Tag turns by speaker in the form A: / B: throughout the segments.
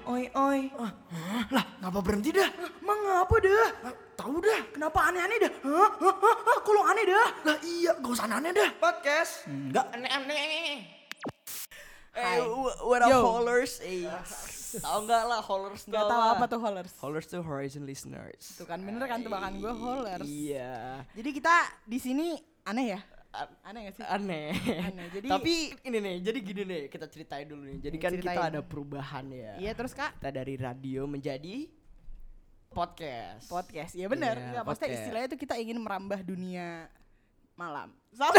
A: Boy.
B: Lah, ngapa berhenti dah?
A: Mengapa dah?
B: Lah, Tahu dah.
A: Kenapa aneh-aneh dah? Hah? Hah? Hah? Hah? Kalau aneh dah?
B: Lah iya, gak usah aneh dah.
C: Podcast.
B: Enggak.
D: Eh,
C: Hey, what up
D: Yo.
C: hollers? Eh, tau nggak lah hollers
D: Gak tahu
C: lah.
D: apa tuh hollers.
C: Hollers tuh horizon listeners.
D: Tuh kan bener kan tebakan gue hollers.
C: Iya.
D: Jadi kita di sini aneh ya? Aneh gak sih?
C: Aneh.
D: Aneh, jadi-
C: Tapi ini nih, jadi gini nih, kita ceritain dulu nih. Jadi kan kita
D: Ceritain.
C: ada perubahan ya.
D: Iya terus kak
C: Kita dari radio menjadi podcast.
D: podcast. Iya bener.
C: Iya,
D: Enggak, maksudnya
C: podcast.
D: istilahnya tuh kita ingin merambah dunia malam. Sama.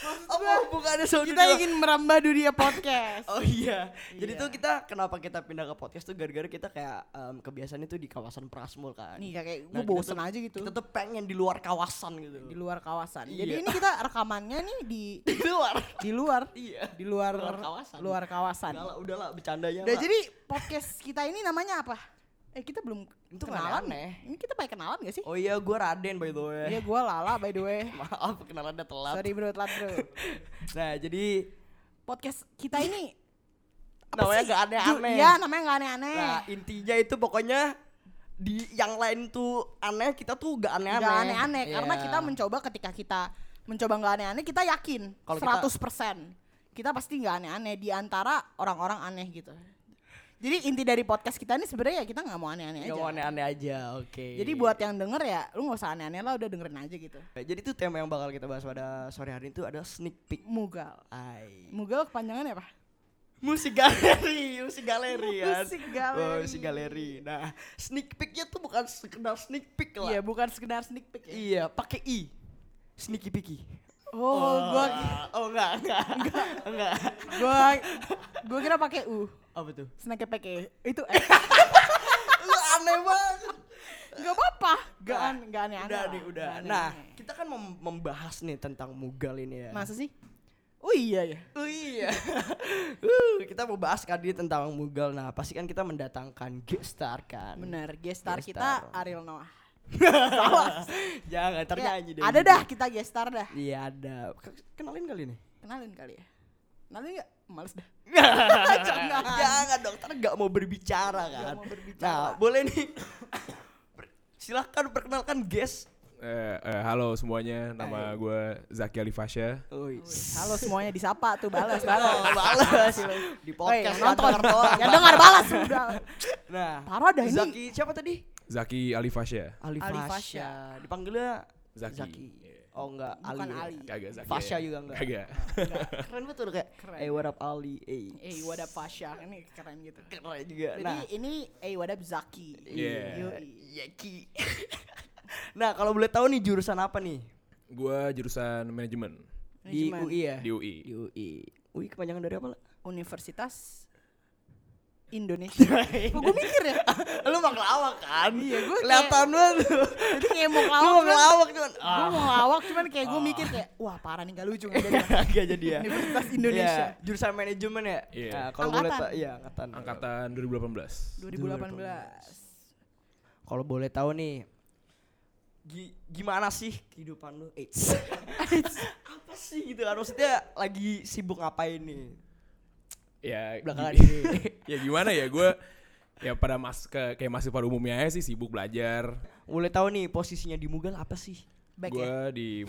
C: Apa bukan ada
D: kita ingin merambah dunia podcast.
C: Oh iya. Jadi
D: Iya.
C: tuh kita kenapa kita pindah ke podcast tuh gara-gara kita kayak em, kebiasaannya tuh di kawasan Prasmul kan.
D: Nih kayak gue
C: Nah, kita
D: bosen
C: tuh-
D: aja gitu.
C: Kita tuh pengen di luar kawasan gitu.
D: di luar kawasan. Jadi
C: Iya.
D: ini kita rekamannya nih di
C: Di luar.
D: di luar
C: iya.
D: di luar
C: Luar kawasan.
D: Luar kawasan.
C: Udahlah, udahlah bercandanya.
D: Udah
C: Pak.
D: Nah, jadi podcast kita ini namanya apa? Eh kita belum
C: Itu
D: kenalan ya?
C: aneh-aneh.
D: Ini kita pakai kenalan gak sih?
C: Oh iya, gue Raden by the way.
D: Iya gue Lala by the way.
C: Maaf kenalannya telat.
D: Sorry bro, telat bro.
C: Nah, jadi
D: Podcast kita ini apa
C: namanya
D: sih?
C: gak aneh-aneh.
D: Ju- Iya namanya gak aneh-aneh.
C: Nah, intinya itu pokoknya di yang lain tuh aneh, kita tuh gak aneh-aneh.
D: Gak aneh-aneh karena
C: Iya.
D: kita mencoba ketika kita mencoba gak aneh-aneh kita yakin
C: Kalau
D: 100%
C: kita-
D: kita, pasti gak aneh-aneh di antara orang-orang aneh gitu. Jadi inti dari podcast kita ini sebenarnya ya kita nggak mau aneh-aneh aja.
C: Gak mau aneh-aneh aja, oke.
D: Jadi buat yang denger ya lu nggak usah aneh-aneh lah udah dengerin aja gitu.
C: Nah, Jadi tuh tema yang bakal kita bahas pada sore hari itu adalah sneak peek.
D: Mugal.
C: Ay.
D: Mugal kepanjangannya apa?
C: Musik galeri, musik galeri kan.
D: Musik galeri.
C: Oh, musik galeri. Nah, sneak peeknya tuh bukan sekedar sneak peek lah.
D: Iya, bukan sekedar sneak peek ya.
C: Iya, pakai i. Sneaky peeky.
D: Oh, gua
C: Oh, enggak, enggak. Enggak. enggak.
D: gua gua kira pakai u.
C: Apa tuh?
D: Snack pack ya. Itu eh,
C: Lu aneh banget.
D: enggak apa-apa. Enggak an enggak aneh aneh.
C: Udah nih, udah. Nah, kita kan mem- membahas nih tentang mugal ini ya.
D: masa sih? Oh iya ya.
C: Oh iya. Uh, kita mau bahas kan dia tentang Mughal. Nah, pasti kan kita mendatangkan G-Star kan.
D: Benar, gestar
C: Guest
D: kita
C: star.
D: Ariel Noah.
C: Salah. Jangan ternyanyi
D: Ya, ada dah kita gestar dah.
C: Iya, ada. Ke- Kenalin kali nih.
D: Kenalin kali ya. Kenalin enggak? Males dah.
C: Jangan. Jangan dokter nggak mau berbicara kan.
D: mau berbicara.
C: Nah, boleh nih. Per- Silahkan perkenalkan guest.
A: Eh, eh, halo semuanya, nama gue Zaki Ali Fasya.
C: Oi.
D: Halo semuanya disapa tuh balas balas.
C: Halo, balas di
D: Oh, Woi,
C: podcast
D: yang
C: nonton
D: nonton. Yang dengar balas udah.
C: Nah,
D: Parah dah ini.
C: Zaki siapa tadi?
A: Zaki Ali Fasya.
C: Ali
D: Ali Fasya.
C: Fasya. Dipanggilnya
A: Zaki.
C: Oh enggak,
D: Bukan Ali.
A: Kagak Zaki.
C: Fasya
A: ya.
C: juga enggak.
A: Kagak.
C: Enggak, Keren banget udah kayak
D: Keren.
C: eh what up Ali. Eh.
D: Eh, what up Fasya? Ini keren gitu.
C: Keren juga.
D: Jadi
C: Nah,
D: ini eh what up Zaki.
A: Iya.
D: Yoi.
C: ya Ki. nah, kalau boleh tahu nih jurusan apa nih?
A: Gue jurusan manajemen
C: Di
D: Manajemen.
C: UI ya?
A: di UI.
C: Di UI. UI kepanjangan dari apa lah?
D: Universitas Indonesia. Kok gue mikir ya?
C: lu mah ngelawak kan? Iya,
D: gua kayak-
C: kelihatan banget. lu.
D: Jadi ngemok
C: Lu mau
D: lawak.
C: ngelawak Ah. cuman
D: Gue
C: ah.
D: kan? mau lawak cuman kayak gue mikir kayak wah parah nih gak lucu gak jadi.
C: Gak jadi ya.
D: Universitas Indonesia.
C: Iya, jurusan manajemen ya?
A: Iya.
C: Nah, kalau boleh
D: Angkatan.
C: tahu iya, angkatan.
A: Angkatan
D: 2018.
A: 2018.
C: Kalau boleh tahu nih gi- gimana sih kehidupan lu? Eits. apa sih gitu kan? Maksudnya lagi sibuk ngapain nih?
A: Ya,
C: Belakangan
A: gi-
C: ini.
A: ya gimana ya gue ya pada mas ke- kayak masih pada umumnya aja sih sibuk belajar.
C: Boleh tahu nih posisinya di Mugal apa sih?
D: Back
A: gue
D: ya.
A: di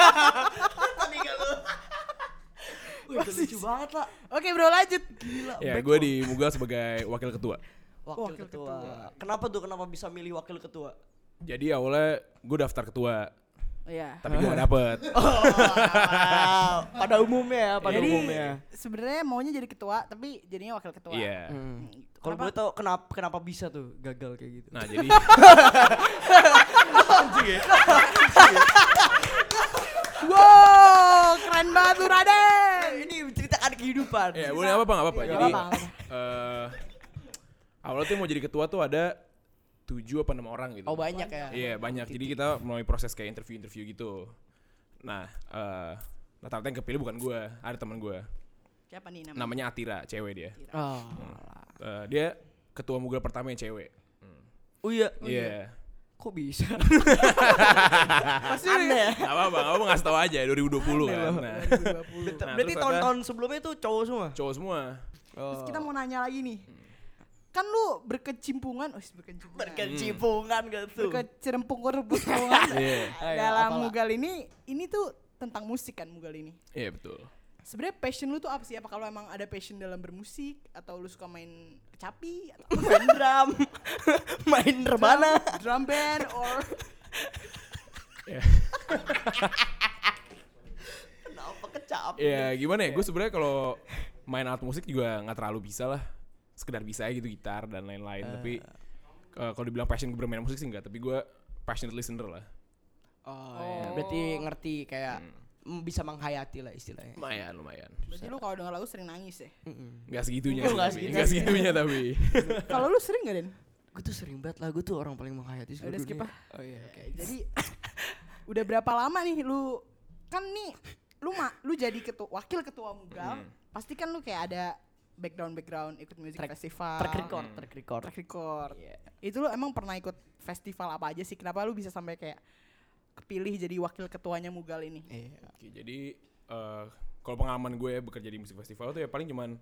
C: Wih, itu lucu banget lah.
D: Oke bro lanjut.
C: Gila.
A: ya
C: back
A: gue
C: lo.
A: di Mugal sebagai wakil ketua.
C: wakil,
D: Wakil
C: ketua. Kenapa tuh kenapa bisa milih wakil ketua?
A: Jadi awalnya gue daftar ketua,
D: Iya.
A: tapi gue gak dapet.
C: Oh. Ah, pada umumnya ya, pada
D: Jadi
C: umumnya.
D: sebenarnya maunya jadi ketua tapi jadinya wakil ketua. gitu.
A: Iya.
C: Hmm. Kalau
D: Kenapa?
C: boleh tahu kenapa kenapa bisa tuh gagal kayak gitu?
A: Nah jadi
D: Wow keren banget lu Raden.
C: Eh, ini ceritakan kehidupan.
A: ya boleh apa apa nggak apa-apa.
D: Nggak
A: Jadi
D: apa-apa, nggak
A: eh awalnya tuh mau jadi ketua tuh ada tujuh apa enam orang gitu.
C: Oh banyak ya.
A: Iya banyak. Jadi kita melalui proses kayak interview-interview gitu. Nah, eh rata-rata yang kepilih bukan gue, ada teman gue.
D: Siapa nih namanya?
A: Namanya Atira, cewek dia.
C: Oh.
A: Eh, dia ketua Mughal pertama yang cewek.
C: Oh iya.
A: Iya.
C: Kok bisa? ya?
D: Pasti Aneh.
A: Gak apa-apa, gak apa-apa ngasih tau aja 2020 kan. Nah,
C: Berarti
A: terus ada
C: Nah, tahun-tahun sebelumnya tuh cowok semua.
A: Nah, cowok semua.
D: Terus kita mau nanya lagi nih. Kan lu berkecimpungan, oh berkecimpungan.
C: berkecimpungan gitu.
D: Berkecerempungkur berkecerempungan.
A: Iya.
C: Ayo,
D: Dalam
C: Oh, apalah.
D: Mugal ini, ini tuh tentang musik kan Mugal ini.
A: Iya betul.
D: Sebenarnya passion lu tuh apa sih? Apa kalau emang ada passion dalam bermusik atau lu suka main kecapi atau main
C: drum, main rebana.
D: drum band or
C: Kenapa kecap?
A: Ya gimana ya, gue sebenarnya kalau main alat musik juga nggak terlalu bisa lah. Sekedar bisa aja gitu gitar dan lain-lain. Tapi eh, kalau dibilang passion gue bermain musik sih enggak. Tapi gue passionate listener lah.
C: Oh, iya. berarti ngerti kayak mm, bisa menghayati lah istilahnya.
A: Lumayan, lumayan.
D: berarti lu kalau denger lagu sering nangis ya.
A: Gak segitunya
C: Nggak
A: sih, tapi.
C: segitunya.
A: Gak segitunya tapi.
D: kalau lu sering gak Den?
C: Gue tuh sering banget lah, gue tuh orang paling menghayati seluruh
D: Udah, skip
C: dunia.
D: ah.
C: Oh iya, oke.
D: Jadi udah berapa lama nih lu kan nih lu ma, lu jadi ketua wakil ketua Mugal,
C: Hmm.
D: pasti kan lu kayak ada background background ikut music
C: Track-
D: festival.
C: Track record, Iya. track record.
D: Track record. Itu lu emang pernah ikut festival apa aja sih? Kenapa lu bisa sampai kayak kepilih jadi wakil ketuanya Mugal ini?
C: Iya.
A: Oke, jadi eh, kalau pengalaman gue bekerja di musik festival tuh ya paling cuman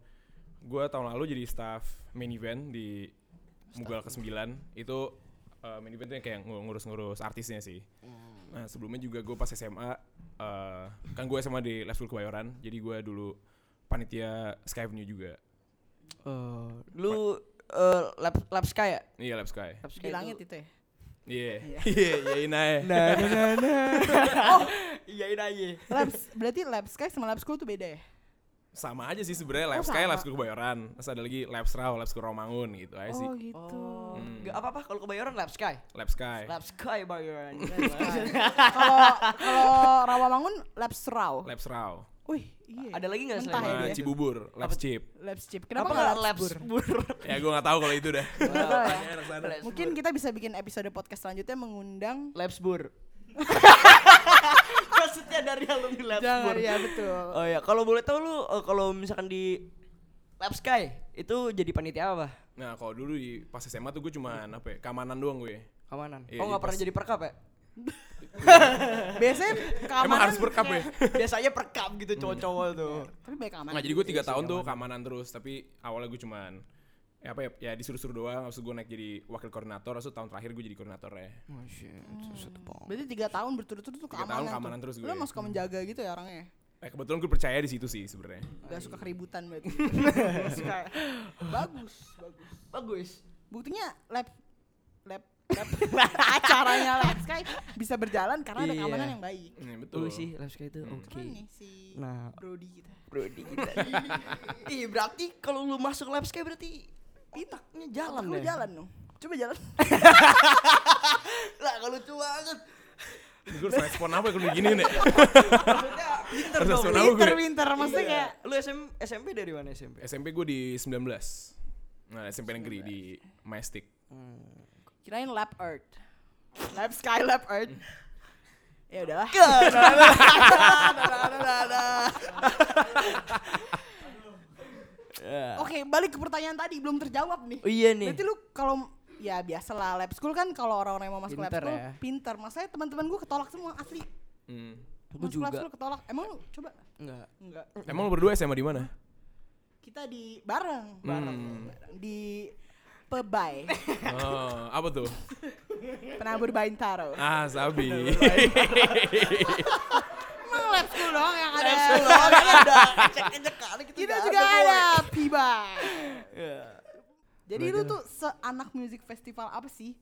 A: gue tahun lalu jadi staff main event di Mugal ke-9 itu eh, main event tuh yang kayak ngu- ngurus-ngurus artisnya sih. Nah, sebelumnya juga gue pas SMA eh, kan gue SMA di Les School Kebayoran, jadi gue dulu panitia Sky Avenue juga.
C: Eh, lu eh, lab lab sky ya?
A: Iya, Lab Sky.
C: Lab
D: Di
C: sky
D: langit
C: itu-
D: itu ya?
A: Iya. Iya, iya Inae.
C: Nah, nah, nah, nah. oh, iyain aja.
D: Labs, berarti lab sky sama lab school tuh beda ya?
A: Sama aja sih sebenarnya Lab
D: Oh,
A: Sky,
D: sama.
A: Lab School Kebayoran. Terus ada lagi Lab Sraw, Lab School Romangun gitu
C: Iya
A: aja sih.
D: Oh gitu.
C: Oh, nggak apa-apa kalau kebayoran lab sky.
A: Lab Sky.
C: Lab sky bayoran. Iya.
D: Kalau kalau Rawamangun lab serau.
A: Lab Sraw.
D: Wih, iya.
C: Ada lagi nggak
D: Mentah
C: selain
A: sama
D: ya dia?
A: Cibubur, Labs Chip.
D: Labs chip. Kenapa
C: Kenapa
D: nggak
C: nggak
D: labs
C: labs
D: bur?
C: bur?
A: Ya gue gak tahu kalau itu dah.
D: Nggak tahu ya.
A: Tanya anak sana.
D: Mungkin kita bisa bikin episode podcast selanjutnya mengundang
C: labs bur. Maksudnya dari alumni labs
D: Jangan
C: bur.
D: ya betul.
C: Oh ya, kalau boleh tahu lu eh, kalau misalkan di Lab Sky itu jadi panitia apa?
A: Nah kalau dulu di pas SMA tuh gue cuman apa ya, keamanan doang gue.
C: Kamanan.
A: Iya,
C: oh,
A: jadi
C: nggak pernah
A: pas-
C: jadi perkap ya?
D: Biasanya
A: Oh. Emang
D: keamanan
A: harus berkap ya?
C: Biasanya perkap gitu cowok-cowok tuh.
D: tapi baik keamanan.
A: Nah jadi gue tiga tahun tuh keamanan terus, tapi awalnya gue cuman ya apa ya, ya disuruh-suruh doang, habis itu gue naik jadi wakil koordinator, habis itu tahun terakhir gue jadi koordinator ya.
C: Hmm.
D: Berarti tiga tahun berturut-turut tuh
A: Tiga
D: keamanan.
A: tahun
D: tuh.
A: keamanan terus
D: Lu
A: gue.
D: emang suka menjaga gitu ya orangnya.
A: Eh, kebetulan gue percaya di situ sih sebenarnya.
D: Gak suka keributan berarti. Suka. bagus, bagus.
C: Bagus.
D: Buktinya lab lab lab acaranya lab sky bisa berjalan karena ada
C: Iya.
D: keamanan yang baik.
A: Iya betul.
C: Tuh sih Lab Sky itu oke.
D: Keren nih si
C: Nah,
D: Brody gitu. kita.
C: Hmm. Brody kita. Ih, berarti kalau lu masuk Lab Sky berarti pitaknya jalan
D: Lu
C: deh.
D: jalan dong. Coba jalan.
C: Lah, kalau lucu banget.
A: Gue harus respon apa ya kalau begini nih?
C: Maksudnya pinter
A: Harus
C: dong.
A: tahu gue.
D: Winter winter maksudnya
C: Iya.
D: kayak
C: lu SM, SMP dari mana SMP?
A: SMP gue di 19. Nah SMP negeri di Mastic.
D: Hmm. kirain lab earth. Lab sky lab earth. Ya udahlah. Oke, balik ke pertanyaan tadi belum terjawab Ya. nih.
C: Oh iya nih.
D: Berarti lu kalau ya biasa lah lab school kan kalau orang-orang yang mau masuk
C: Pinter
D: lab school
C: ya.
D: pinter. Masalahnya teman-teman gue ketolak semua asli.
A: Hmm.
C: Gue
D: Masuk lab
C: juga.
D: school ketolak. Emang lu coba?
C: Enggak.
D: Enggak.
A: Emang lo berdua SMA di mana?
D: Kita di bareng, Hmm. bareng, bareng. di Pebai,
A: Oh, apa tuh?
D: penabur Bintaro.
A: Ah, Sabi.
D: Emang lab school doang yang ada.
C: Eh, ada cek-cek kali kita.
D: Kita
C: nggak
D: juga
C: boy.
D: ada Piba.
C: Iya.
D: Jadi lu tuh seanak music festival apa sih?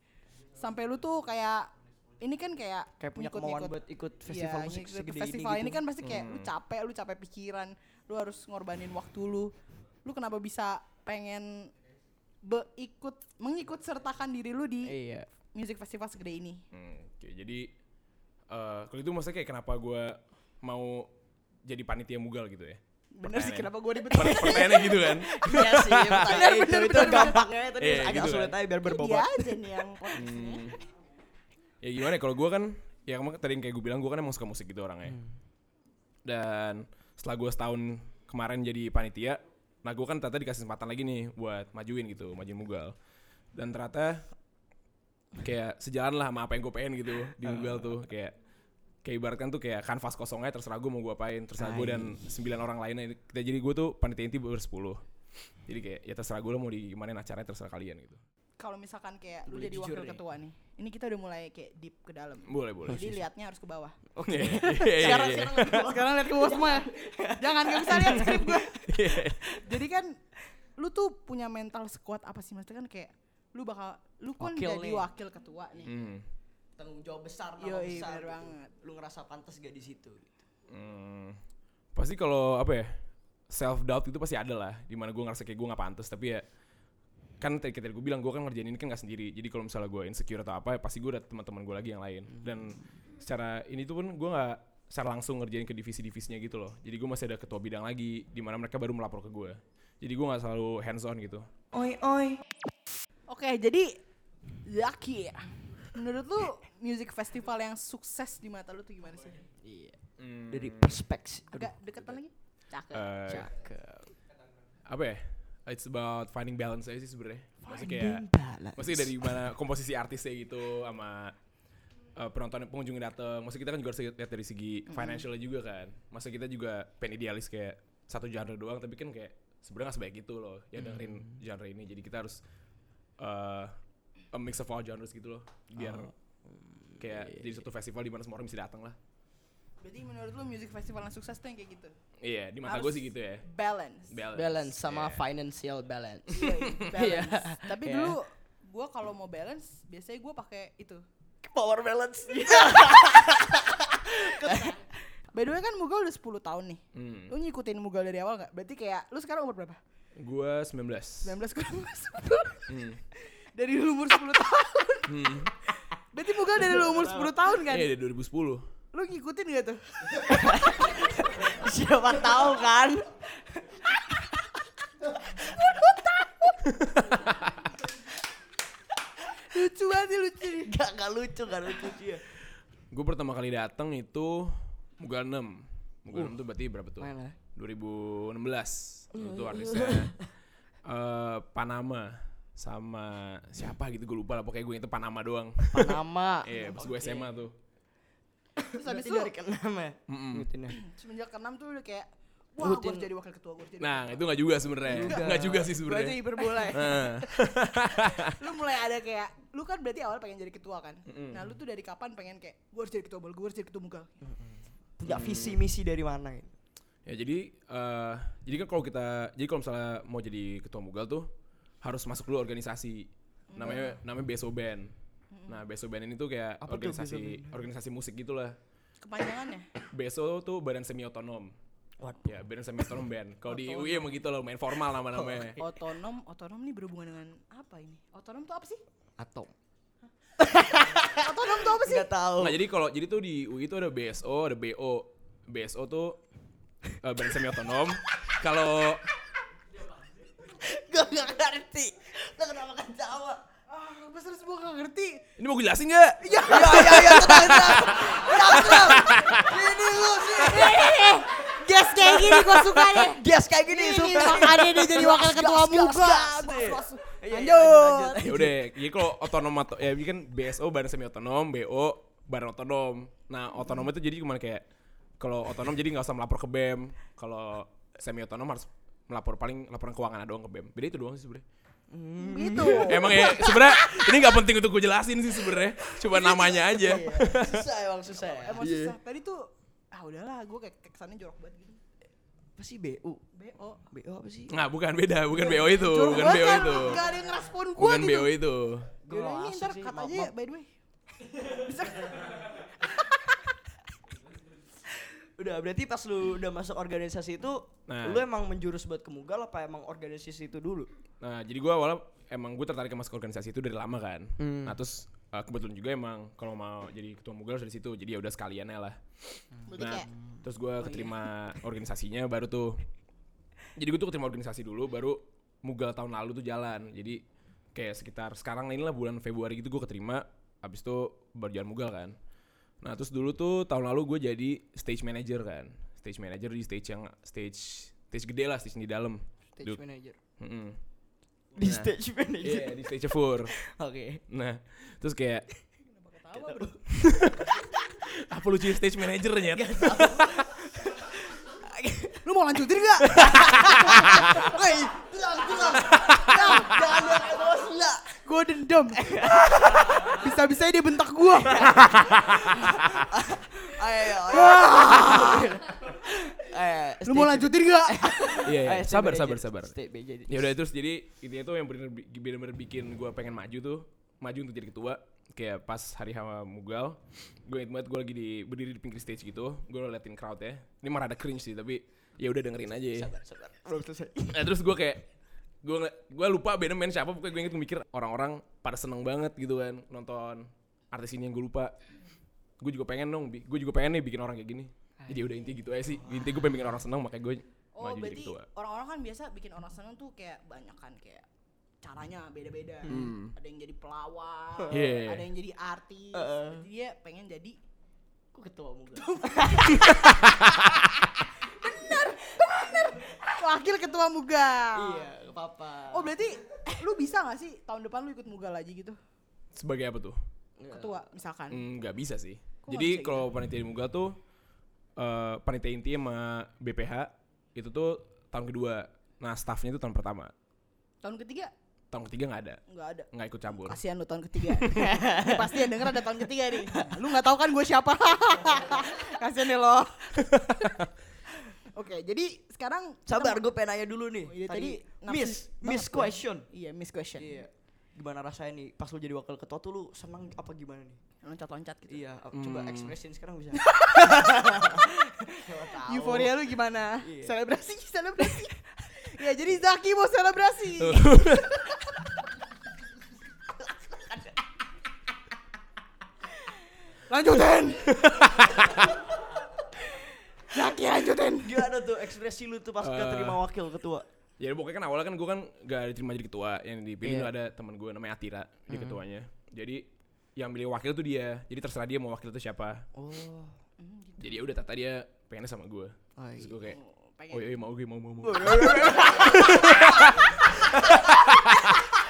D: Sampai lu tuh kayak ini kan kayak
C: Kayak punya kemauan
D: ngikut-ngikut-
C: buat ikut festival
D: Iya,
C: musik
D: ngikut
C: segede
D: festival
C: ini
D: ini,
C: gitu.
D: kan pasti kayak lu capek, lu capek pikiran, lu harus ngorbanin waktu lu. Lu kenapa bisa pengen berikut mengikut sertakan diri lu di
C: Iya.
D: music festival segede ini?
A: Hmm, Oke, jadi eh kalau itu maksudnya kayak kenapa gue mau jadi panitia mugal gitu ya?
D: Bener sih
A: Pertanyaan.
D: kenapa gue ribet.
A: Per- Pertanyaannya gitu kan?
C: Iya sih, bener, itu,
D: bener,
C: itu
D: bener,
C: gampangnya tadi
A: Iya,
C: agak
A: gitu
C: sulit
A: kan.
C: aja biar
D: Dia
C: berbobot.
D: aja nih yang podcastnya.
A: Ya gimana ya, kalau gue kan, ya kemarin tadi yang kayak gue bilang, gue kan emang suka musik gitu orangnya. Dan setelah gue setahun kemarin jadi panitia, nah gue kan ternyata dikasih kesempatan lagi nih buat majuin gitu, majuin mugal. Dan ternyata kayak sejalan lah sama apa yang gue pengen gitu di mugal tuh kayak kayak ibaratkan tuh kayak kanvas kosongnya terserah gue mau gue apain terserah gue dan sembilan orang lainnya kita jadi gue tuh panitia inti bersepuluh jadi kayak ya terserah gue lo mau di gimana acaranya terserah kalian gitu
D: Kalau misalkan kayak lu
C: Boleh
D: jadi
C: jujur
D: wakil
C: nih.
D: ketua nih. Ini kita udah mulai kayak deep ke dalam.
A: boleh boleh
D: Jadi liatnya harus ke bawah.
A: oke iya
D: Oh, Sekarang
A: iya
D: sekarang liat ke bawah. sekarang lihat ke bawah semua. ya. Jangan gak bisa lihat skrip gue.
A: iya
D: Jadi kan lu tuh punya mental sekuat apa sih maksudnya kan kayak lu bakal lu kan
C: Wakil
D: jadi
C: nih.
D: wakil ketua nih.
A: Hmm.
C: Tanggung jawab besar, nama
D: Yoi,
C: besar.
D: bener
C: gitu.
D: banget.
C: Lu ngerasa pantas gak di situ? gitu.
A: Hmm, pasti kalau apa ya self doubt itu pasti ada lah dimana gue ngerasa kayak gue nggak pantas tapi ya kan tadi tadi gue bilang gue kan ngerjain ini kan nggak sendiri jadi kalau misalnya gue insecure atau apa ya pasti gue ada teman-teman gue lagi yang lain
C: Hmm.
A: dan secara ini tuh pun gue nggak secara langsung ngerjain ke divisi-divisinya gitu loh jadi gue masih ada ketua bidang lagi dimana mereka baru melapor ke gue jadi gue nggak selalu hands on gitu
D: Oke, jadi Zaki Menurut lu music festival yang sukses di mata lu tuh gimana sih?
C: Iya.
A: Hmm.
C: Dari perspektif.
D: Agak deketan lagi? Cakep.
A: Eh,
C: Cakep.
A: apa ya it's about finding balance aja sih sebenarnya Maksudnya kayak
C: Finding balance.
A: Maksudnya dari mana komposisi artisnya gitu sama eh, penonton pengunjungnya datang. Maksudnya kita kan juga harus lihat dari segi financialnya juga kan. Maksudnya kita juga pengen idealis kayak satu genre doang tapi kan kayak sebenarnya gak sebaik itu loh. Ya dengerin genre ini jadi kita harus eh a mix of all genres gitu loh biar kayak jadi satu festival di mana semua orang bisa datang lah.
D: Berarti menurut lu music festival yang sukses tuh yang kayak gitu?
A: Iya, di mata
D: Harus
A: gue sih gitu ya.
D: Balance.
A: Balance,
C: balance sama
A: Iya.
C: financial balance.
D: Iya,
C: Iya.
D: balance. Tapi
C: Iya.
D: dulu gua kalau mau balance biasanya gua pakai itu.
C: Power balance.
D: By the way kan Mugal udah 10 tahun nih.
A: Hmm.
D: Lu ngikutin Mugal dari awal gak? Berarti kayak lu sekarang umur berapa?
A: Gue 19.
D: 19 kurang masuk.
A: Hmm.
D: Dari lu umur 10 tahun. Berarti Mugal dari lu umur 10 tahun kan?
A: Iya, dari 2010.
D: Lu ngikutin gak tuh?
C: Siapa tahu kan?
D: Lucu banget sih, lucu. nih.
C: Gak, gak lucu, gak lucu ya. dia.
A: Gue pertama kali datang itu Mugal 6. Mugal
C: Uh.
A: 6 tuh berarti berapa tuh?
C: Mana?
A: 2016. Itu
C: Iya.
A: artisnya eh, Panama sama siapa gitu gue lupa lah pokoknya gue itu Panama doang.
C: Panama.
A: Iya, pas gue SMA tuh.
D: Terus
C: Habis
D: habis
C: itu
D: itu
C: dari keenam ya. Ngikutinnya.
D: semenjak ke-6 tuh udah kayak wah gue
C: Rutin.
D: harus jadi wakil ketua gue harus jadi
A: Nah, itu nggak juga sebenarnya. Nggak juga
D: gue
A: sih
D: aja
A: sebenarnya.
D: hiperbola ya.
A: Heeh.
D: lu mulai ada kayak lu kan berarti awal pengen jadi ketua kan nah lu tuh dari kapan pengen kayak gue harus jadi ketua bol gue harus jadi ketua mugal
C: Punya visi misi dari mana gitu.
A: Ya jadi eh jadi kan kalau kita jadi kalau misalnya mau jadi ketua Mugal tuh harus masuk dulu organisasi. Namanya namanya Beso Band. Nah, Beso Band ini tuh kayak
C: Iya. Apa tuh Beso
A: organisasi organisasi musik gitulah.
D: kepanjangannya
A: Beso tuh badan semi otonom.
C: Waduh.
A: Ya, badan semi otonom band. Kalau di UI emang gitu loh, main formal nama-namanya.
D: otonom otonom nih berhubungan dengan apa ini otonom tuh apa sih
C: Atom.
D: otonom tuh apa sih
C: Gak tahu.
A: Nah, jadi kalau jadi tuh di UI tuh ada BSO, ada BO. BSO tuh eh, badan semi otonom. Kalau
C: Gak gak ngerti. Lo kenapa kan Jawa?
D: ah pas terus gue gak ngerti
A: ini mau gue jelasin nggak?
C: Ya ya ya tenang tenang. Tenang tenang. Ini lu sini.
D: gas kayak gini gue suka deh
C: Gas kayak gini suka.
D: makanya dia jadi wakil
C: Gas,
D: ketua
C: gas,
D: mugal
C: gas, gas. Iya, iya,
D: lanjut
A: ya udah jadi kalau otonom atau ya jadi kan BSO badan semi otonom BO badan otonom nah otonom itu jadi kemana kayak kalau otonom jadi nggak usah melapor ke BEM kalau semi otonom harus melapor paling laporan keuangan doang ke BEM beda itu doang sih sebenarnya
D: gitu
A: emang ya sebenarnya ini nggak penting untuk gue jelasin sih sebenarnya cuma namanya aja
C: Iya. Susah emang susah ya.
D: emang
A: Iya.
D: susah tadi tuh ah udahlah gue kayak kesannya jorok banget gitu
C: Apa sih BU?
D: bo
C: BU apa sih?
A: nggak bukan beda bukan BO itu
D: Jorok
A: bukan
D: banget
A: BO
D: kan,
A: itu
D: Gak ada yang ngerespon gue
A: bukan
D: gitu.
A: BO itu
D: Yaudah ini ntar cut aja ya, by the way.
C: Udah berarti pas lu udah masuk organisasi itu
A: Nah.
C: lu emang menjurus buat kemugal apa emang organisasi itu dulu?
A: Nah, jadi gue awalnya emang gue tertarik sama masuk organisasi itu dari lama kan.
D: Hmm.
A: Nah, terus uh, kebetulan juga emang kalau mau jadi ketua mugal harus dari situ. Jadi ya udah sekaliannya lah.
D: Berarti
A: nah,
D: kayak
A: terus gue keterima organisasinya baru tuh. Jadi gue tuh keterima organisasi dulu, baru mugal tahun lalu tuh jalan. Jadi kayak sekitar sekarang inilah bulan Februari gitu gue keterima. Abis itu baru jalan mugal kan. Nah, terus dulu tuh tahun lalu gue jadi stage manager kan. Stage manager di stage yang stage stage gede lah, stage di dalam. Duk-
C: manager.
A: Mm-mm.
C: Di stage manager.
A: Iya, di stage 4.
C: Oke.
A: Nah, terus kayak apa lucu stage manager nyet?
D: lu mau lanjutin gak?
C: Woi, itu sama
D: dendam. Bisa-bisa dia bentak gua.
C: Ayo, ayo. Ayo,
D: Lu
C: stay
D: mau
C: tune.
D: lanjutin gak?
A: Iya, iya.
C: Ayo, stay
A: sabar,
C: back
A: sabar,
C: aja.
A: sabar.
C: Stay back aja.
A: Ya udah terus jadi intinya tuh yang bener bener bikin gue pengen maju tuh, maju untuk jadi ketua. Kayak pas hari Hama Mugal, gue inget banget gue lagi di berdiri di pinggir stage gitu, gue liatin crowd ya. Ini mah rada cringe sih, tapi ya udah dengerin aja ya.
C: Sabar, sabar. Belum selesai.
A: Nah, terus gue kayak gue gue lupa bandnya main siapa pokoknya gue inget mikir orang-orang pada seneng banget gitu kan nonton artis ini yang gue lupa gue juga pengen dong gue juga pengen nih bikin orang kayak gini jadi udah inti gitu aja sih inti gue pengen bikin orang seneng makanya gue
D: Oh
A: maju jadi
D: berarti
A: ketua
D: orang-orang kan biasa bikin orang seneng tuh kayak banyak kan kayak caranya beda-beda.
C: Hmm.
D: Ada yang jadi pelawak,
A: Yeah.
D: ada yang jadi artis. Jadi dia pengen jadi
C: Uh-uh. Kok ketua muka?
D: wakil ketua Mugal.
C: Iya, gak apa-apa.
D: Oh berarti lu bisa gak sih tahun depan lu ikut Mugal lagi gitu?
A: sebagai apa tuh
D: Ketua
C: Hmm.
D: misalkan.
A: Mm, nggak bisa sih
D: Kok nggak bisa
A: jadi
D: gitu?
A: kalau panitia di Muga tuh eh, panitia inti sama BPH itu tuh tahun kedua nah staffnya itu tahun pertama
D: Tahun ketiga
A: tahun ketiga nggak ada
D: nggak ada.
A: nggak ikut campur
D: Kasihan lu tahun ketiga. Ini pasti yang denger ada tahun ketiga nih. Lu nggak tahu kan gue siapa. Kasihan deh lo. Oke, jadi sekarang kita
C: Sabar,
D: mau-
C: gue pengen nanya dulu nih.
D: Oh, iya,
C: tadi,
D: tadi
C: miss,
D: nafsu
C: miss
D: banget gua.
C: question.
D: Iya, miss question.
C: Iya. Gimana rasanya nih pas lu jadi wakil ketua tuh lu seneng apa gimana nih?
D: Loncat-loncat gitu.
C: Iya, ap- coba
A: Hmm.
C: ekspresin sekarang bisa.
D: Euforia lu gimana?
C: Iya.
D: Selebrasi, selebrasi. ya jadi Zaki mau selebrasi. lanjutin. Zaki lanjutin.
C: Gimana tuh ekspresi lu tuh
A: Uh.
C: pas keterima wakil ketua?
A: Ya pokoknya kan awalnya kan gue kan gak diterima jadi ketua Yang
C: Iya.
A: dipilih tuh ada teman gue namanya Atira Dia ketuanya Jadi yang milih wakil tuh dia Jadi terserah dia mau wakil tuh siapa
C: Oh.
A: Jadi ya udah tata dia pengennya sama gue Terus gue kayak Oh iya, iya, mau gue mau mau mau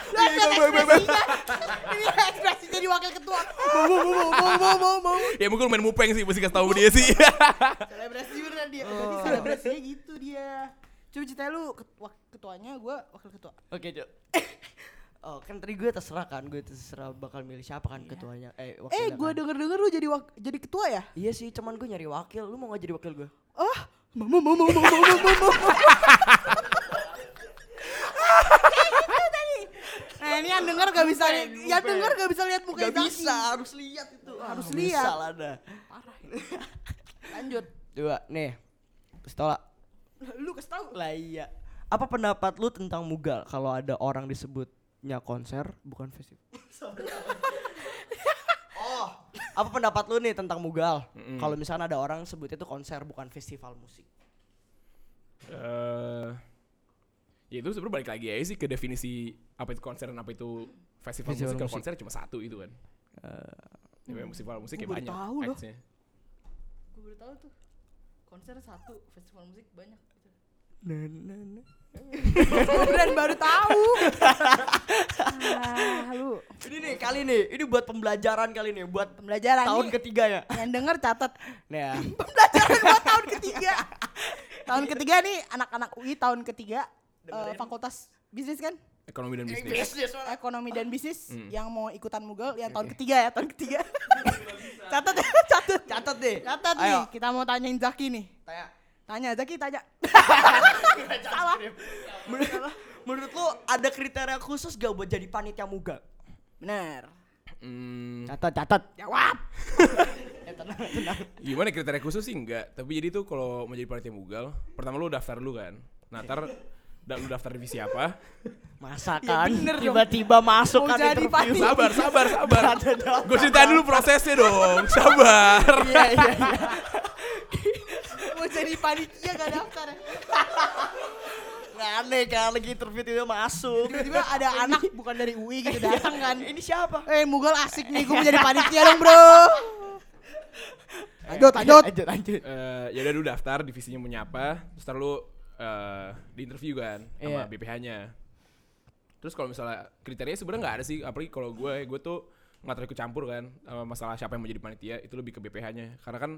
D: Lanjut ekspresinya. Ini ekspresi jadi wakil ketua. Mau mau mau mau mau mau mau.
A: Ya mungkin main mupeng sih Mesti kasih tau dia sih
D: Selebrasi beneran dia. Jadi selebrasinya gitu dia. Coba ceritain lu ket- wak- ketuanya gue wakil ketua.
C: Oke, Cok. Oh, kan tadi gue terserah kan, gue terserah bakal milih siapa kan ketuanya. Eh,
D: Eh,
C: wakilnya
D: gue
C: kan.
D: denger-denger lu jadi wak- jadi ketua ya?
C: Iya sih, cuman gue nyari wakil. Lu mau gak jadi wakil gue?
D: Oh, mau mau mau mau mau mau mau mau. gitu Nah ini yang denger gak bisa lihat, yang denger gak bisa lihat muka
C: Gak
D: Zaki.
C: bisa, harus lihat itu.
D: Harus
C: Ah,
D: lihat.
C: misal ada.
D: Lanjut.
C: Coba, nih. Setolak.
D: Lu kasih tau.
C: Lah iya. Apa pendapat lu tentang Mugal kalau ada orang disebutnya konser bukan festival? oh, apa pendapat lu nih tentang Mugal? Kalau misalnya ada orang sebutnya itu konser bukan festival musik.
A: Eh, Ya itu sebenernya balik lagi aja sih Ke definisi Apa itu konser dan apa itu Festival,
C: Festival
A: musik Kalau
C: musik.
A: konser cuma satu itu kan Ya memang festival musik ya
D: Eh, Gua baru
A: banyak
D: tahu loh.
A: acts-nya.
D: Gue baru tau tuh. Konser satu, festival musik banyak. Dan baru tahu. ah, lu
C: Ini nih kali nih, ini buat pembelajaran kali nih, buat
D: pembelajaran
C: tahun
D: nih.
C: ketiga ya.
D: Yang denger catat.
C: Nah,
D: Pembelajaran buat tahun ketiga. tahun ketiga nih anak-anak UI tahun ketiga eh, fakultas bisnis kan?
A: Ekonomi dan bisnis
C: bisnis mana?
D: ekonomi dan bisnis
A: Hmm.
D: yang mau ikutan Mugal yang tahun ketiga ya tahun ketiga catat ya catat
C: Catat deh.
D: catat nih
C: Ayo.
D: kita mau tanyain Zaki nih
C: Tanya.
D: tanya Zaki tanya salah
C: Menurut, menurut lu ada kriteria khusus gak buat jadi panitia Mugal?
D: bener
A: Hmm,
C: Catat, catat.
D: jawab
C: Eh, tenang, tenang.
A: Gimana kriteria khusus sih enggak, tapi jadi tuh kalau mau jadi panitia mugal, pertama lu daftar dulu kan. Nah, ntar da lu daftar divisi apa?
C: Masa
D: Ya
C: kan
D: bener dong.
C: tiba-tiba masuk
D: Mau
C: kan
D: jadi
C: interview.
D: panitia.
A: Sabar, sabar, sabar.
C: Ada dong.
A: Gue ceritain dulu prosesnya dong. Sabar.
C: Iya, iya, iya.
D: mau jadi panitia gak daftar ya?
C: Nggak aneh kan lagi interview tiba masuk. Iya,
D: tiba-tiba ada anak bukan dari UI gitu datang kan
C: Ini siapa?
D: eh Mugal asik nih gue mau jadi panitia dong bro lanjut lanjut
C: Lanjut, lanjut.
A: Eh, ya udah lu daftar divisinya punya apa, terus ntar lu eh, di interview kan
C: Iya.
A: sama BPH-nya. Terus kalau misalnya kriterianya sebenarnya nggak ada sih, apalagi kalau gue, gue tuh nggak terlalu ikut campur kan sama masalah siapa yang mau jadi panitia itu lebih ke BPH-nya karena kan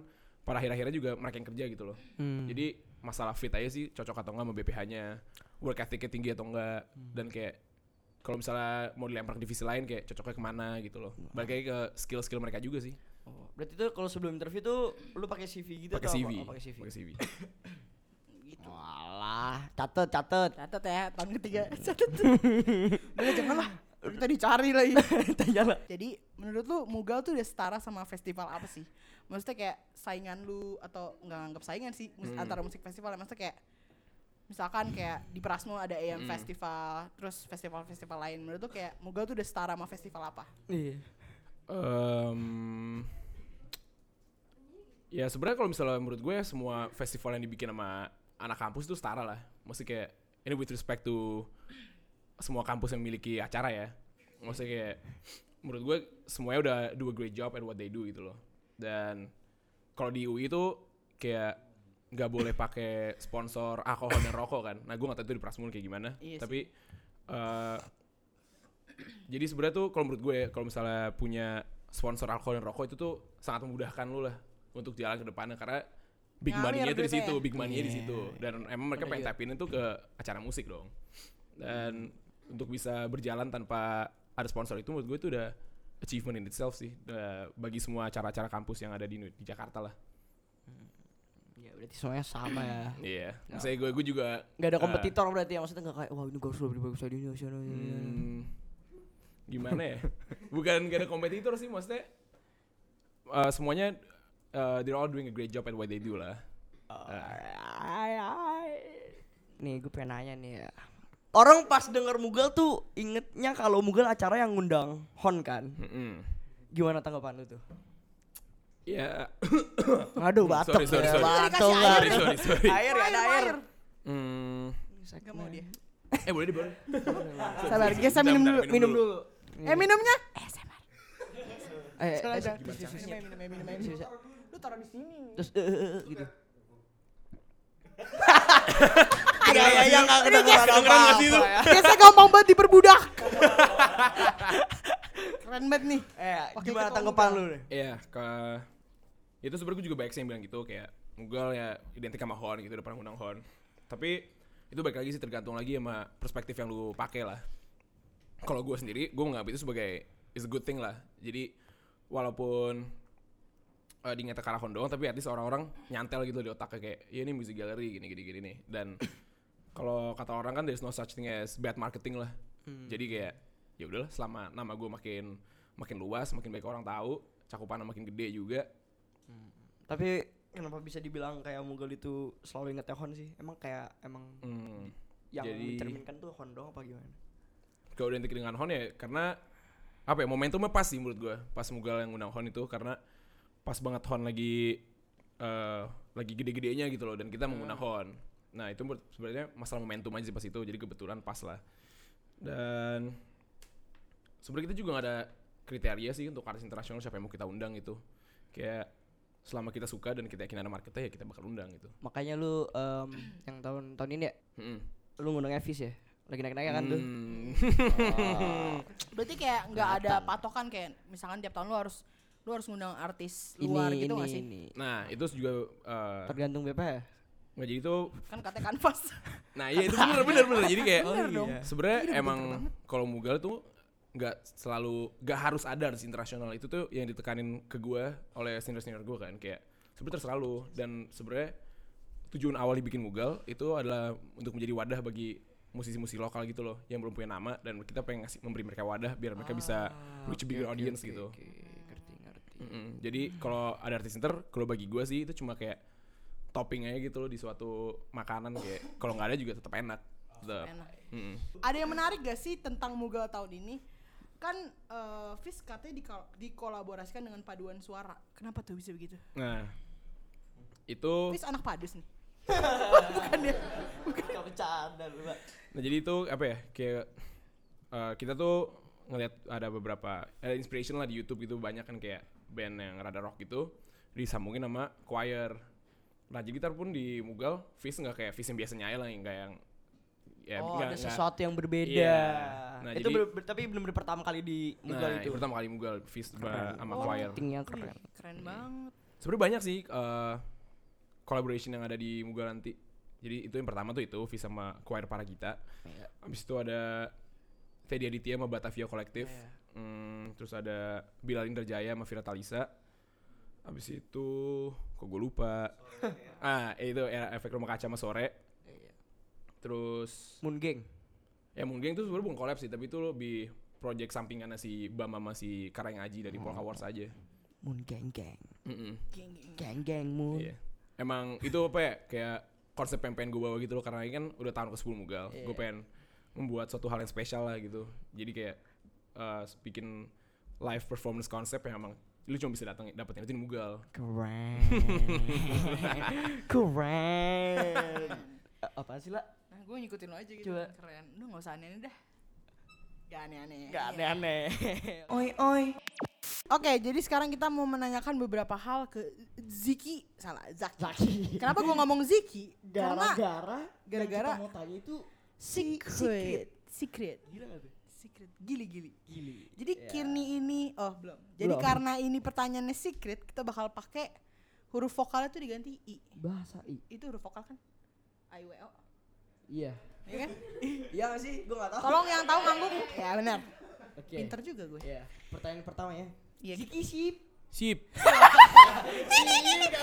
A: pada akhir-akhirnya juga mereka yang kerja gitu loh.
C: Hmm.
A: Jadi masalah fit aja sih cocok atau enggak sama BPH-nya, work ethicnya tinggi atau enggak dan kayak kalau misalnya mau dilempar ke divisi lain kayak cocoknya kemana gitu loh balik lagi ke skill-skill mereka juga sih
C: Oh, berarti tuh kalau sebelum interview tuh lu pakai CV gitu
A: pakai
C: atau
A: CV
C: apa? Oh, pakai CV.
A: pakai CV
C: Gitu. Walah, catet catet.
D: Catat ya, tahun ketiga. Catat. Udah jangan lah. Kita dicari lagi.
C: Tanya lah.
D: Jadi menurut lu Mugal tuh udah setara sama festival apa sih? Maksudnya kayak saingan lu atau nggak nganggap saingan sih mus-
C: Hmm.
D: antara musik festival ya. maksudnya kayak misalkan kayak di Prasmo ada AM
C: Hmm.
D: Festival, terus festival-festival lain. Menurut lu kayak Mugal tuh udah setara sama festival apa?
C: Iya.
A: Em, ya sebenarnya kalau misalnya menurut gue semua festival yang dibikin sama anak kampus itu setara lah. Mesti kayak ini with respect to semua kampus yang memiliki acara ya. Maksudnya kayak menurut gue semuanya udah do a great job at what they do gitu loh. Dan kalau di UI itu kayak nggak boleh pakai sponsor alkohol dan rokok kan. Nah gue nggak tahu itu di Prasmul kayak gimana.
D: Iya sih.
A: Tapi eh, jadi sebenarnya tuh kalau menurut gue ya, kalau misalnya punya sponsor alkohol dan rokok itu tuh sangat memudahkan lu lah untuk jalan ke depannya karena big
D: Ngalir
A: money-nya tuh di
D: duitnya
A: situ,
D: ya?
A: big money-nya di situ. Dan emang mereka pengen tapin itu ke acara musik dong. Dan untuk bisa berjalan tanpa ada sponsor itu menurut gue itu udah achievement in itself sih eh, bagi semua acara-acara kampus yang ada di Nu- di Jakarta lah.
C: Iya, berarti semuanya sama ya.
A: Iya. Maksudnya gue gue juga
C: Gak ada
A: eh,
C: kompetitor berarti ya maksudnya gak kayak wah ini gue harus lebih bagus dari ini sana.
A: Hmm, gimana ya? Bukan gak ada kompetitor sih maksudnya. eh, semuanya eh, they're all doing a great job at what they do lah.
C: Nih gue pengen nanya nih ya. Orang pas denger Mugal tuh ingetnya kalau Mugal acara yang ngundang Hon kan.
A: Mm-mm.
C: Gimana tanggapan lu tuh?
A: Ya,
C: Aduh
A: batuk.
C: batuk.
A: sorry, sorry, sorry.
D: Batuk,
A: sorry sorry sorry.
C: Air ya, ada air.
A: Hmm,
D: Gak mau dia.
A: eh boleh deh boleh.
D: Sabar, guys, saya minum dulu.
C: Minum dulu. Iya.
D: Eh minumnya? Eh, sabar.
C: Eh, eh,
D: Sekarang jangan.
C: terus, terus, terus,
D: Minum, minum, minum, minum.
C: terus,
D: Lu taruh di sini.
C: terus, eh, eh, eh, gitu.
A: Ada ya yang
C: Ini guys,
A: keren nggak sih itu?
D: Biasa gampang banget diperbudak. Keren banget nih.
C: Eh,
D: Oke,
C: gimana
D: ketua
C: tanggapan
D: Mugal.
C: lu nih?
A: Iya, ke itu sebenarnya gue juga banyak sih yang bilang gitu kayak Mugal ya identik sama Hon gitu depan undang Hon. Tapi itu balik lagi sih tergantung lagi sama perspektif yang lu pakai lah. Kalau gue sendiri, gue menganggap itu sebagai is a good thing lah. Jadi walaupun eh diingat ke arah Hon doang, tapi at least orang-orang nyantel gitu di otaknya kayak ya ini music gallery gini gini gini nih. Dan kalau kata orang kan there's no such thing as bad marketing lah. Jadi kayak ya udahlah selama nama gue makin makin luas, makin banyak orang tahu, cakupannya makin gede juga.
C: Tapi kenapa bisa dibilang kayak Mugal itu selalu ingetnya Hon sih? Emang kayak emang
A: Hmm.
C: yang
A: Jadi-
C: mencerminkan tuh Hon doang apa gimana?
A: Kalau identik dengan Hon ya karena apa ya momentumnya pas sih menurut gue pas Mugal yang undang Hon itu karena pas banget Hon lagi eh lagi gede-gedenya gitu loh dan kita
C: Hmm.
A: mengundang Hon. Nah itu menurut- sebenarnya masalah momentum aja sih pas itu jadi kebetulan pas lah. Dan sebenarnya kita juga gak ada kriteria sih untuk artis internasional siapa yang mau kita undang gitu. Kayak selama kita suka dan kita yakin ada marketnya ya kita bakal undang gitu.
C: Makanya lu em, yang tahun tahun ini ya,
A: Mm-mm.
C: lu ngundang Evis ya? Lagi naik-naik kan tuh.
A: Hmm.
C: Ah.
D: Berarti kayak nggak ada patokan kayak misalkan tiap tahun lu harus lu harus ngundang artis luar gitu nggak sih?
C: ini.
A: nah itu juga eh,
C: Tergantung BP ya?
A: nggak jadi itu
D: Kan katanya kanvas.
A: nah iya itu bener bener bener jadi kayak oh, iya.
D: Bener dong. Iya,
A: sebenarnya emang kalau mugal tuh nggak selalu nggak harus ada artis internasional itu tuh yang ditekanin ke gue oleh senior senior gue kan kayak sebenarnya terserah lu dan sebenarnya tujuan awal dibikin mugal itu adalah untuk menjadi wadah bagi musisi-musisi lokal gitu loh yang belum punya nama dan kita pengen ngasih memberi mereka wadah biar mereka bisa
D: Ah,
A: reach a bigger audience gitu
C: ngerti ngerti.
A: Mm-mm. Jadi kalau ada artis inter, kalau bagi gue sih itu cuma kayak topping aja gitu loh di suatu makanan kayak kalau nggak ada juga tetap enak. Tetep.
D: Enak.
A: Mm-mm.
D: Ada yang menarik gak sih tentang Mugal tahun ini? Kan eh Fis katanya dikol- dikolaborasikan dengan paduan suara. Kenapa tuh bisa begitu?
A: Nah itu,
C: Oh.
D: Fis anak padus nih. Bukan dia.
C: Gak bercanda lu, Pak.
A: nah jadi itu apa ya kayak eh, kita tuh ngelihat ada beberapa ada inspiration lah di YouTube gitu banyak kan kayak band yang rada rock gitu disambungin sama choir. Nah jadi gitar pun di Mugal, Fizz nggak kayak Fizz yang biasanya aja lah yang kayak yang ya,
C: Oh,
A: nggak-
C: ada
A: nggak-
C: sesuatu yang berbeda.
A: Iya. Nah,
C: itu
A: jadi-
C: bener- bener- tapi benar-benar pertama kali di Mugal
A: nah,
C: itu. Oh,
A: itu pertama kali Mugal Fizz ba- sama choir.
C: Tingnya keren.
D: Keren banget.
A: Sebenarnya banyak sih eh, collaboration yang ada di Mugal nanti.
C: Iya.
A: Jadi itu yang pertama tuh itu Visa sama Choir Paragita. Habis itu ada Fedi Aditya sama Batavia Collective.
C: Iya.
A: Hmm, terus ada Bilal Indrajaya sama Vira Talisa. Abis itu kok gue lupa.
C: iya.
A: ah, itu era efek rumah kaca sama sore. Terus
C: Moon Gang.
A: ya mungkin itu sebenarnya bukan collab sih, tapi itu lebih project sampingannya si Bam sama si Karang Aji dari
C: Hmm.
A: Polka Wars aja.
C: Moon Gang Gang.
A: Mm-mm.
C: Gang Gang Moon.
A: Iya. Emang itu apa ya? Kayak konsep yang pengen gue bawa gitu loh karena ini kan udah tahun ke-10 Mugal. Gue pengen membuat suatu hal yang spesial lah gitu. Jadi kayak eh, bikin live performance konsep yang emang lu cuma bisa datang dapetin itu di Mugal.
C: Keren. Keren. A- Eh, Apaan sih lah?
D: Nah, gue ngikutin lo aja gitu.
C: Coba.
D: Keren. Lu enggak usah aneh-aneh dah. Gak aneh-aneh.
C: Gak aneh-aneh.
B: Oi oi.
D: Oke, jadi sekarang kita mau menanyakan beberapa hal ke Ziki. Salah, Zaki. Kenapa gue ngomong Ziki? Karena
B: Gara-gara
D: gara-gara-
B: yang kita mau tanya itu
D: secret. Secret.
C: Gila gak tuh?
D: Secret. Gili-gili.
C: Gili.
D: Jadi
C: Ya.
D: Kirni ini, oh belum. Jadi
C: Belum.
D: karena ini pertanyaannya secret, kita bakal pakai huruf vokalnya tuh diganti I.
C: Bahasa I.
D: Itu huruf vokal kan? I, W, O.
C: Iya.
D: Ya kan?
C: Iya gak sih? Gue gak tau.
D: Tolong yang tahu ngangguk. Ya benar.
C: Oke.
D: Pinter juga gue.
C: Iya. Pertanyaan pertama ya.
D: Iya.
C: Ziki sip.
A: Sip.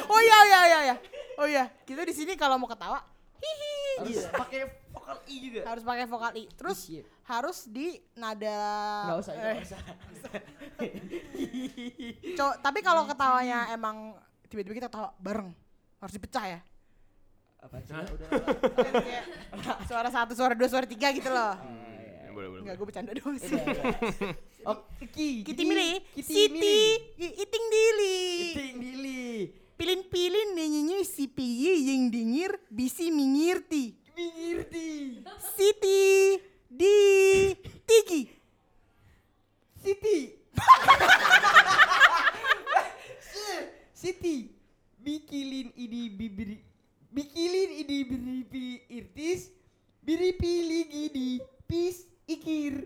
D: Oh iya iya iya iya. Oh iya, kita di sini kalau mau ketawa hihi gitu.
C: Harus pakai vokal I juga.
D: harus pakai vokal i. Terus
C: Iya.
D: harus di nada
C: Gak usah,
D: eh,
C: gak usah.
D: co- tapi kalau ketawanya emang tiba-tiba kita ketawa bareng harus dipecah ya.
C: Apaan sih? Lah? Udah lah.
D: Kayak suara satu, suara dua, suara tiga gitu loh.
A: Ya, boleh, boleh,
D: Enggak, gue
A: boleh.
D: bercanda doang sih.
C: Udah, udah. Oke, Ki.
D: Kiti mili,
C: Iya, Oh, Kiti
D: Siti,
C: Mili.
D: i- iting dili.
C: Ting Dili.
D: Pilin-pilin nenyenyu si piye yang dingir bisi mingirti.
C: Mingirti.
D: Siti di tiki.
C: Siti. Siti. Bikilin ini bibiri. Bikilin ini biripi irtis. Biripi ligi di pis ikir.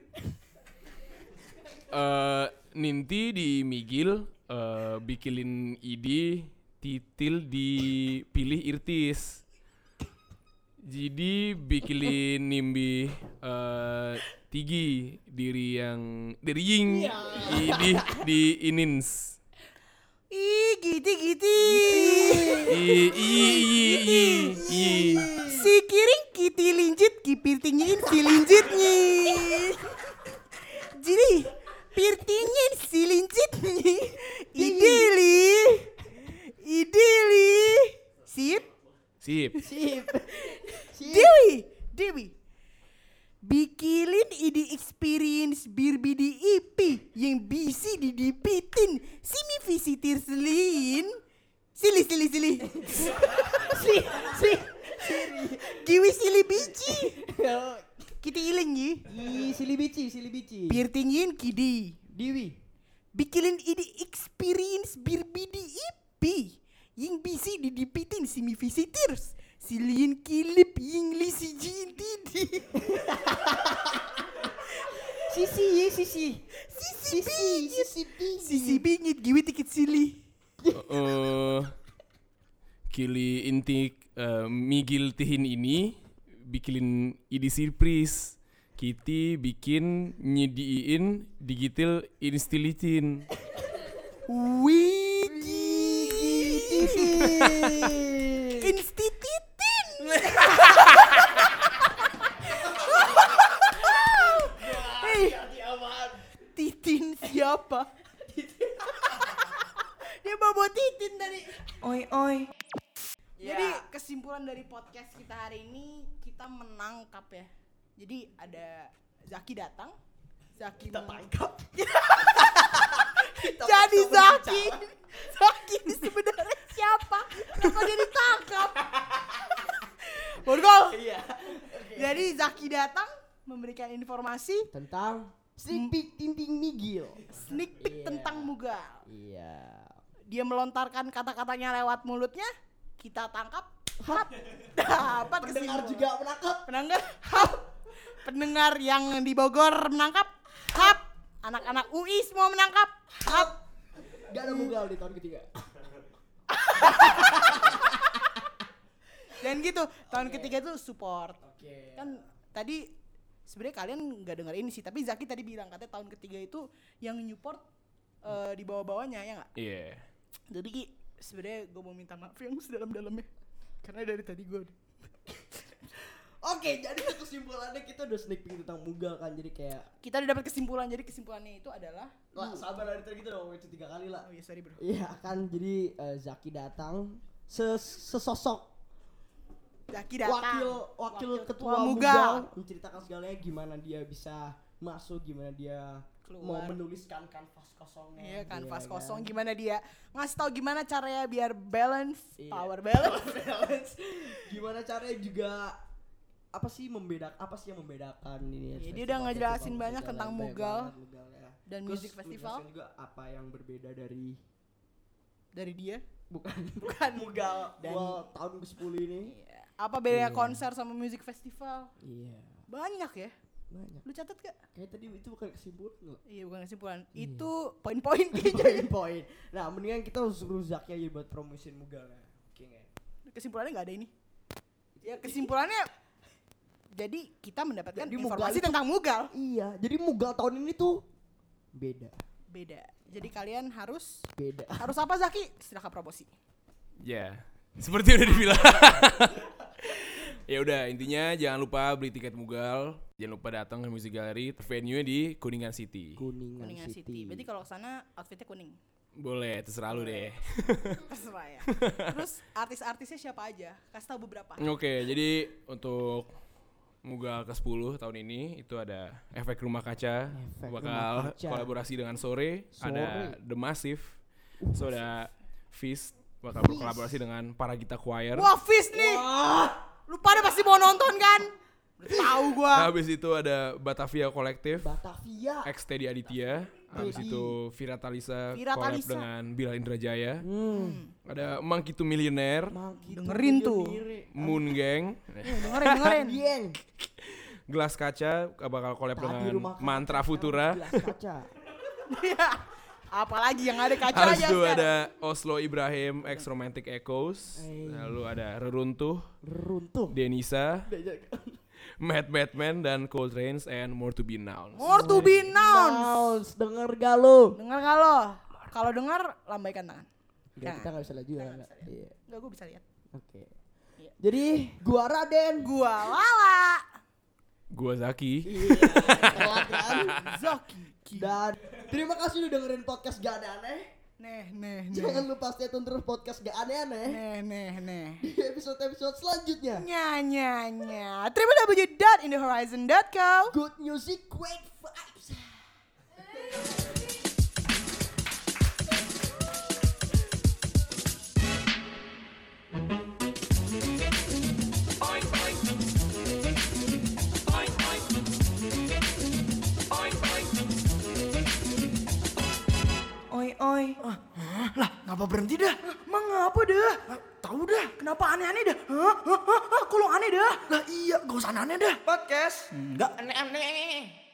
A: Eh, Ninti di Migil, eh, bikilin ID, titil dipilih Irtis. Jadi bikilin nimbi eh, tigi diri yang diri ying idi di inins.
D: Ih, giti giti.
A: I i i i i.
D: Si kiring kiti linjit ki pirtingin si linjit nyi. Jadi pirtingin si linjit nyi. Idili. Idili. Sip.
A: Sip.
C: Sip. Sip.
D: Dewi. Dewi. Bikilin ini experience birbi di IP yang bisi didipitin simi visitir selin. Sili sili sili. si si Giwi sili biji. Kita ilang ye.
C: Di silibici, silibici.
D: Pirtingin kidi.
C: Diwi.
D: Bikilin ini experience birbi di IP yang bisi didipitin simi visitors. Silin kilip yang lisi jintidi.
C: Sisi, ye, sisi. Sisi, sisi,
D: Sisi bingit giwi tikit sili.
A: eh kili inti eh, migil tihin ini bikinin idi surprise kiti bikin nyediin digital instilitin
D: Wiji. Institutin. Hei. Titin siapa? Dia bawa titin dari
B: Oi oi.
D: Jadi kesimpulan dari podcast kita hari ini kita menangkap ya. Jadi ada Zaki datang, Zaki kita tangkap. Jadi Zaki, Zaki ini sebenarnya siapa? Kenapa dia ditangkap? Borgol. Jadi Zaki datang memberikan informasi
C: Tentang Sipik Tinting Migil.
D: sneak peek
C: Iya.
D: tentang Mugal.
C: Iya.
D: dia melontarkan kata-katanya lewat mulutnya, kita tangkap, hap,
B: Dengar
D: dapat kesimpulan.
B: juga menangkap.
D: Pendengar, hap, pendengar yang di Bogor menangkap, hap, anak-anak UI semua menangkap, hap.
C: Gak ada Mugal di tahun ketiga.
D: Dan gitu, tahun ketiga itu support.
C: Oke.
D: Kan tadi sebenarnya kalian nggak dengar ini sih tapi Zaki tadi bilang katanya tahun ketiga itu yang nyupport eh, di bawah-bawahnya ya nggak
A: Iya.
D: jadi Ki, sebenarnya gue mau minta maaf yang sedalam-dalamnya karena dari tadi gue
C: Oke, jadi kesimpulannya kita udah sneak peek tentang Mugal kan, jadi kayak
D: kita udah dapat kesimpulan jadi kesimpulannya itu adalah
C: lah sabar dari tadi kita udah ngomongin itu tiga kali lah.
D: oh ya sorry bro
C: Iya kan, jadi eh, Zaki datang ses- sesosok
D: Zaki datang
C: wakil wakil ketua
D: Mugal.
C: Mugal menceritakan segalanya gimana dia bisa masuk, gimana dia mau
D: Keluar.
C: menuliskan kanvas kosongnya.
D: Iya kan,
C: Iya
D: vas
C: kan?
D: kosong gimana dia ngasih tahu gimana caranya biar balance,
C: Iya.
D: power balance.
C: balance. Gimana caranya juga apa sih membedak apa sih yang membedakan ini? ya?
D: Iya, dia
C: festival-
D: udah ngejelasin
C: festival
D: banyak
C: musik
D: tentang
C: kan banyak
D: Mugal
C: banget Mugal ya.
D: Dan
C: Terus
D: music
C: lu
D: festival.
C: jelasin juga apa yang berbeda dari
D: Dari dia.
C: bukan bukan Mugal
D: Dan-
C: World tahun ke-10 ini.
D: Apa bedanya
C: Iya.
D: konser sama music festival?
C: Iya,
D: Banyak ya.
C: banyak.
D: Lu catat gak?
C: Kayak tadi itu bukan kesimpulan loh.
D: Iya bukan kesimpulan.
C: Iya.
D: Itu poin-poin kayaknya.
C: Poin-poin. Nah, mendingan kita suruh Zaki aja buat promosiin Mugal ya. Oke nggak ya?
D: Kesimpulannya nggak ada ini. Ya kesimpulannya jadi kita mendapatkan
C: Jadi Mugal
D: informasi
C: itu-
D: tentang Mugal.
C: Iya, jadi Mugal tahun ini tuh beda,
D: Beda. Jadi kalian harus
C: beda.
D: harus apa Zaki? Silahkan promosi.
A: Ya. Seperti udah dibilang. ya udah intinya jangan lupa beli tiket Mugal, jangan lupa datang ke Music Gallery, venue-nya di Kuningan City.
C: Kuningan,
D: Kuningan City. Berarti kalau kesana outfitnya kuning.
A: Boleh, terserah lu deh.
D: Terserah ya. Terus artis-artisnya siapa aja? Kasih tahu beberapa.
C: Iya.
A: Oke, jadi untuk Mugal ke-10 tahun ini itu ada Efek Rumah Kaca
C: Efek Rumah
A: bakal
C: Kaca.
A: kolaborasi dengan Sore, ada
C: Sore. Uh,
A: The Massive, so ada Fist bakal berkolaborasi dengan Paragita Choir.
D: Wah, Fis nih. Lu pada pasti mau nonton kan? Udah tahu gua.
A: Habis itu ada Batavia Collective,
C: Batavia.
D: Eh.
A: X Teddy Aditya, habis
C: Teddy.
A: itu Vira Talisa
D: Vira
A: collab
D: Talisa.
A: dengan Bila Indrajaya.
C: Hmm.
A: Ada Monkey to Millionaire,
C: Mangki
D: Dengerin tuh.
C: sendiri.
A: Moon Gang,
C: Hmm.
D: Dengerin, dengerin.
C: Dieng.
A: Gelas Kaca bakal collab
C: Tadi
A: dengan
C: rumah kaca,
A: Mantra
C: sekarang
A: Futura.
C: gelas kaca.
D: Iya. Apalagi yang ada kaca
A: Habis
D: aja.
A: itu
D: sekarang.
A: ada Oslo Ibrahim, Ex Romantic Echoes,
C: Eh.
D: Iya.
A: lalu ada Reruntuh,
C: Runtuh.
A: Denisa, Mad Batman dan Cold Rains and More to Be Known.
D: More to be known.
C: Nouns, denger gak lu?
D: Dengar kalau kalau dengar lambaikan tangan.
C: Nggak, kita
D: Jangan.
C: gak bisa laju ya.
D: Kita nggak bisa
C: Iya.
D: Enggak gua bisa lihat.
C: Oke.
D: Iya.
C: Jadi gua Raden.
D: Gua Lala.
A: Gua Zaki.
C: Telat kan?
D: Zaki.
C: Dan terima kasih udah dengerin podcast gak ada aneh.
D: Neh, neh, neh.
C: Jangan lupa stay tune terus podcast gak aneh-aneh
D: Neh, neh, neh.
C: di episode-episode selanjutnya.
D: Nya, nya, nya. www.inthehorizon.co
C: Good music, great vibes.
B: Oi, oi.
D: Ah,
E: Lah, ngapa berhenti dah?
D: Mengapa dah?
E: Tahu dah.
D: Kenapa aneh-aneh dah? Hah? Hah? Hah? Hah? Kok lo aneh dah?
E: Lah iya, gak usah aneh dah.
B: Podcast.
E: Enggak.
B: Aneh-aneh.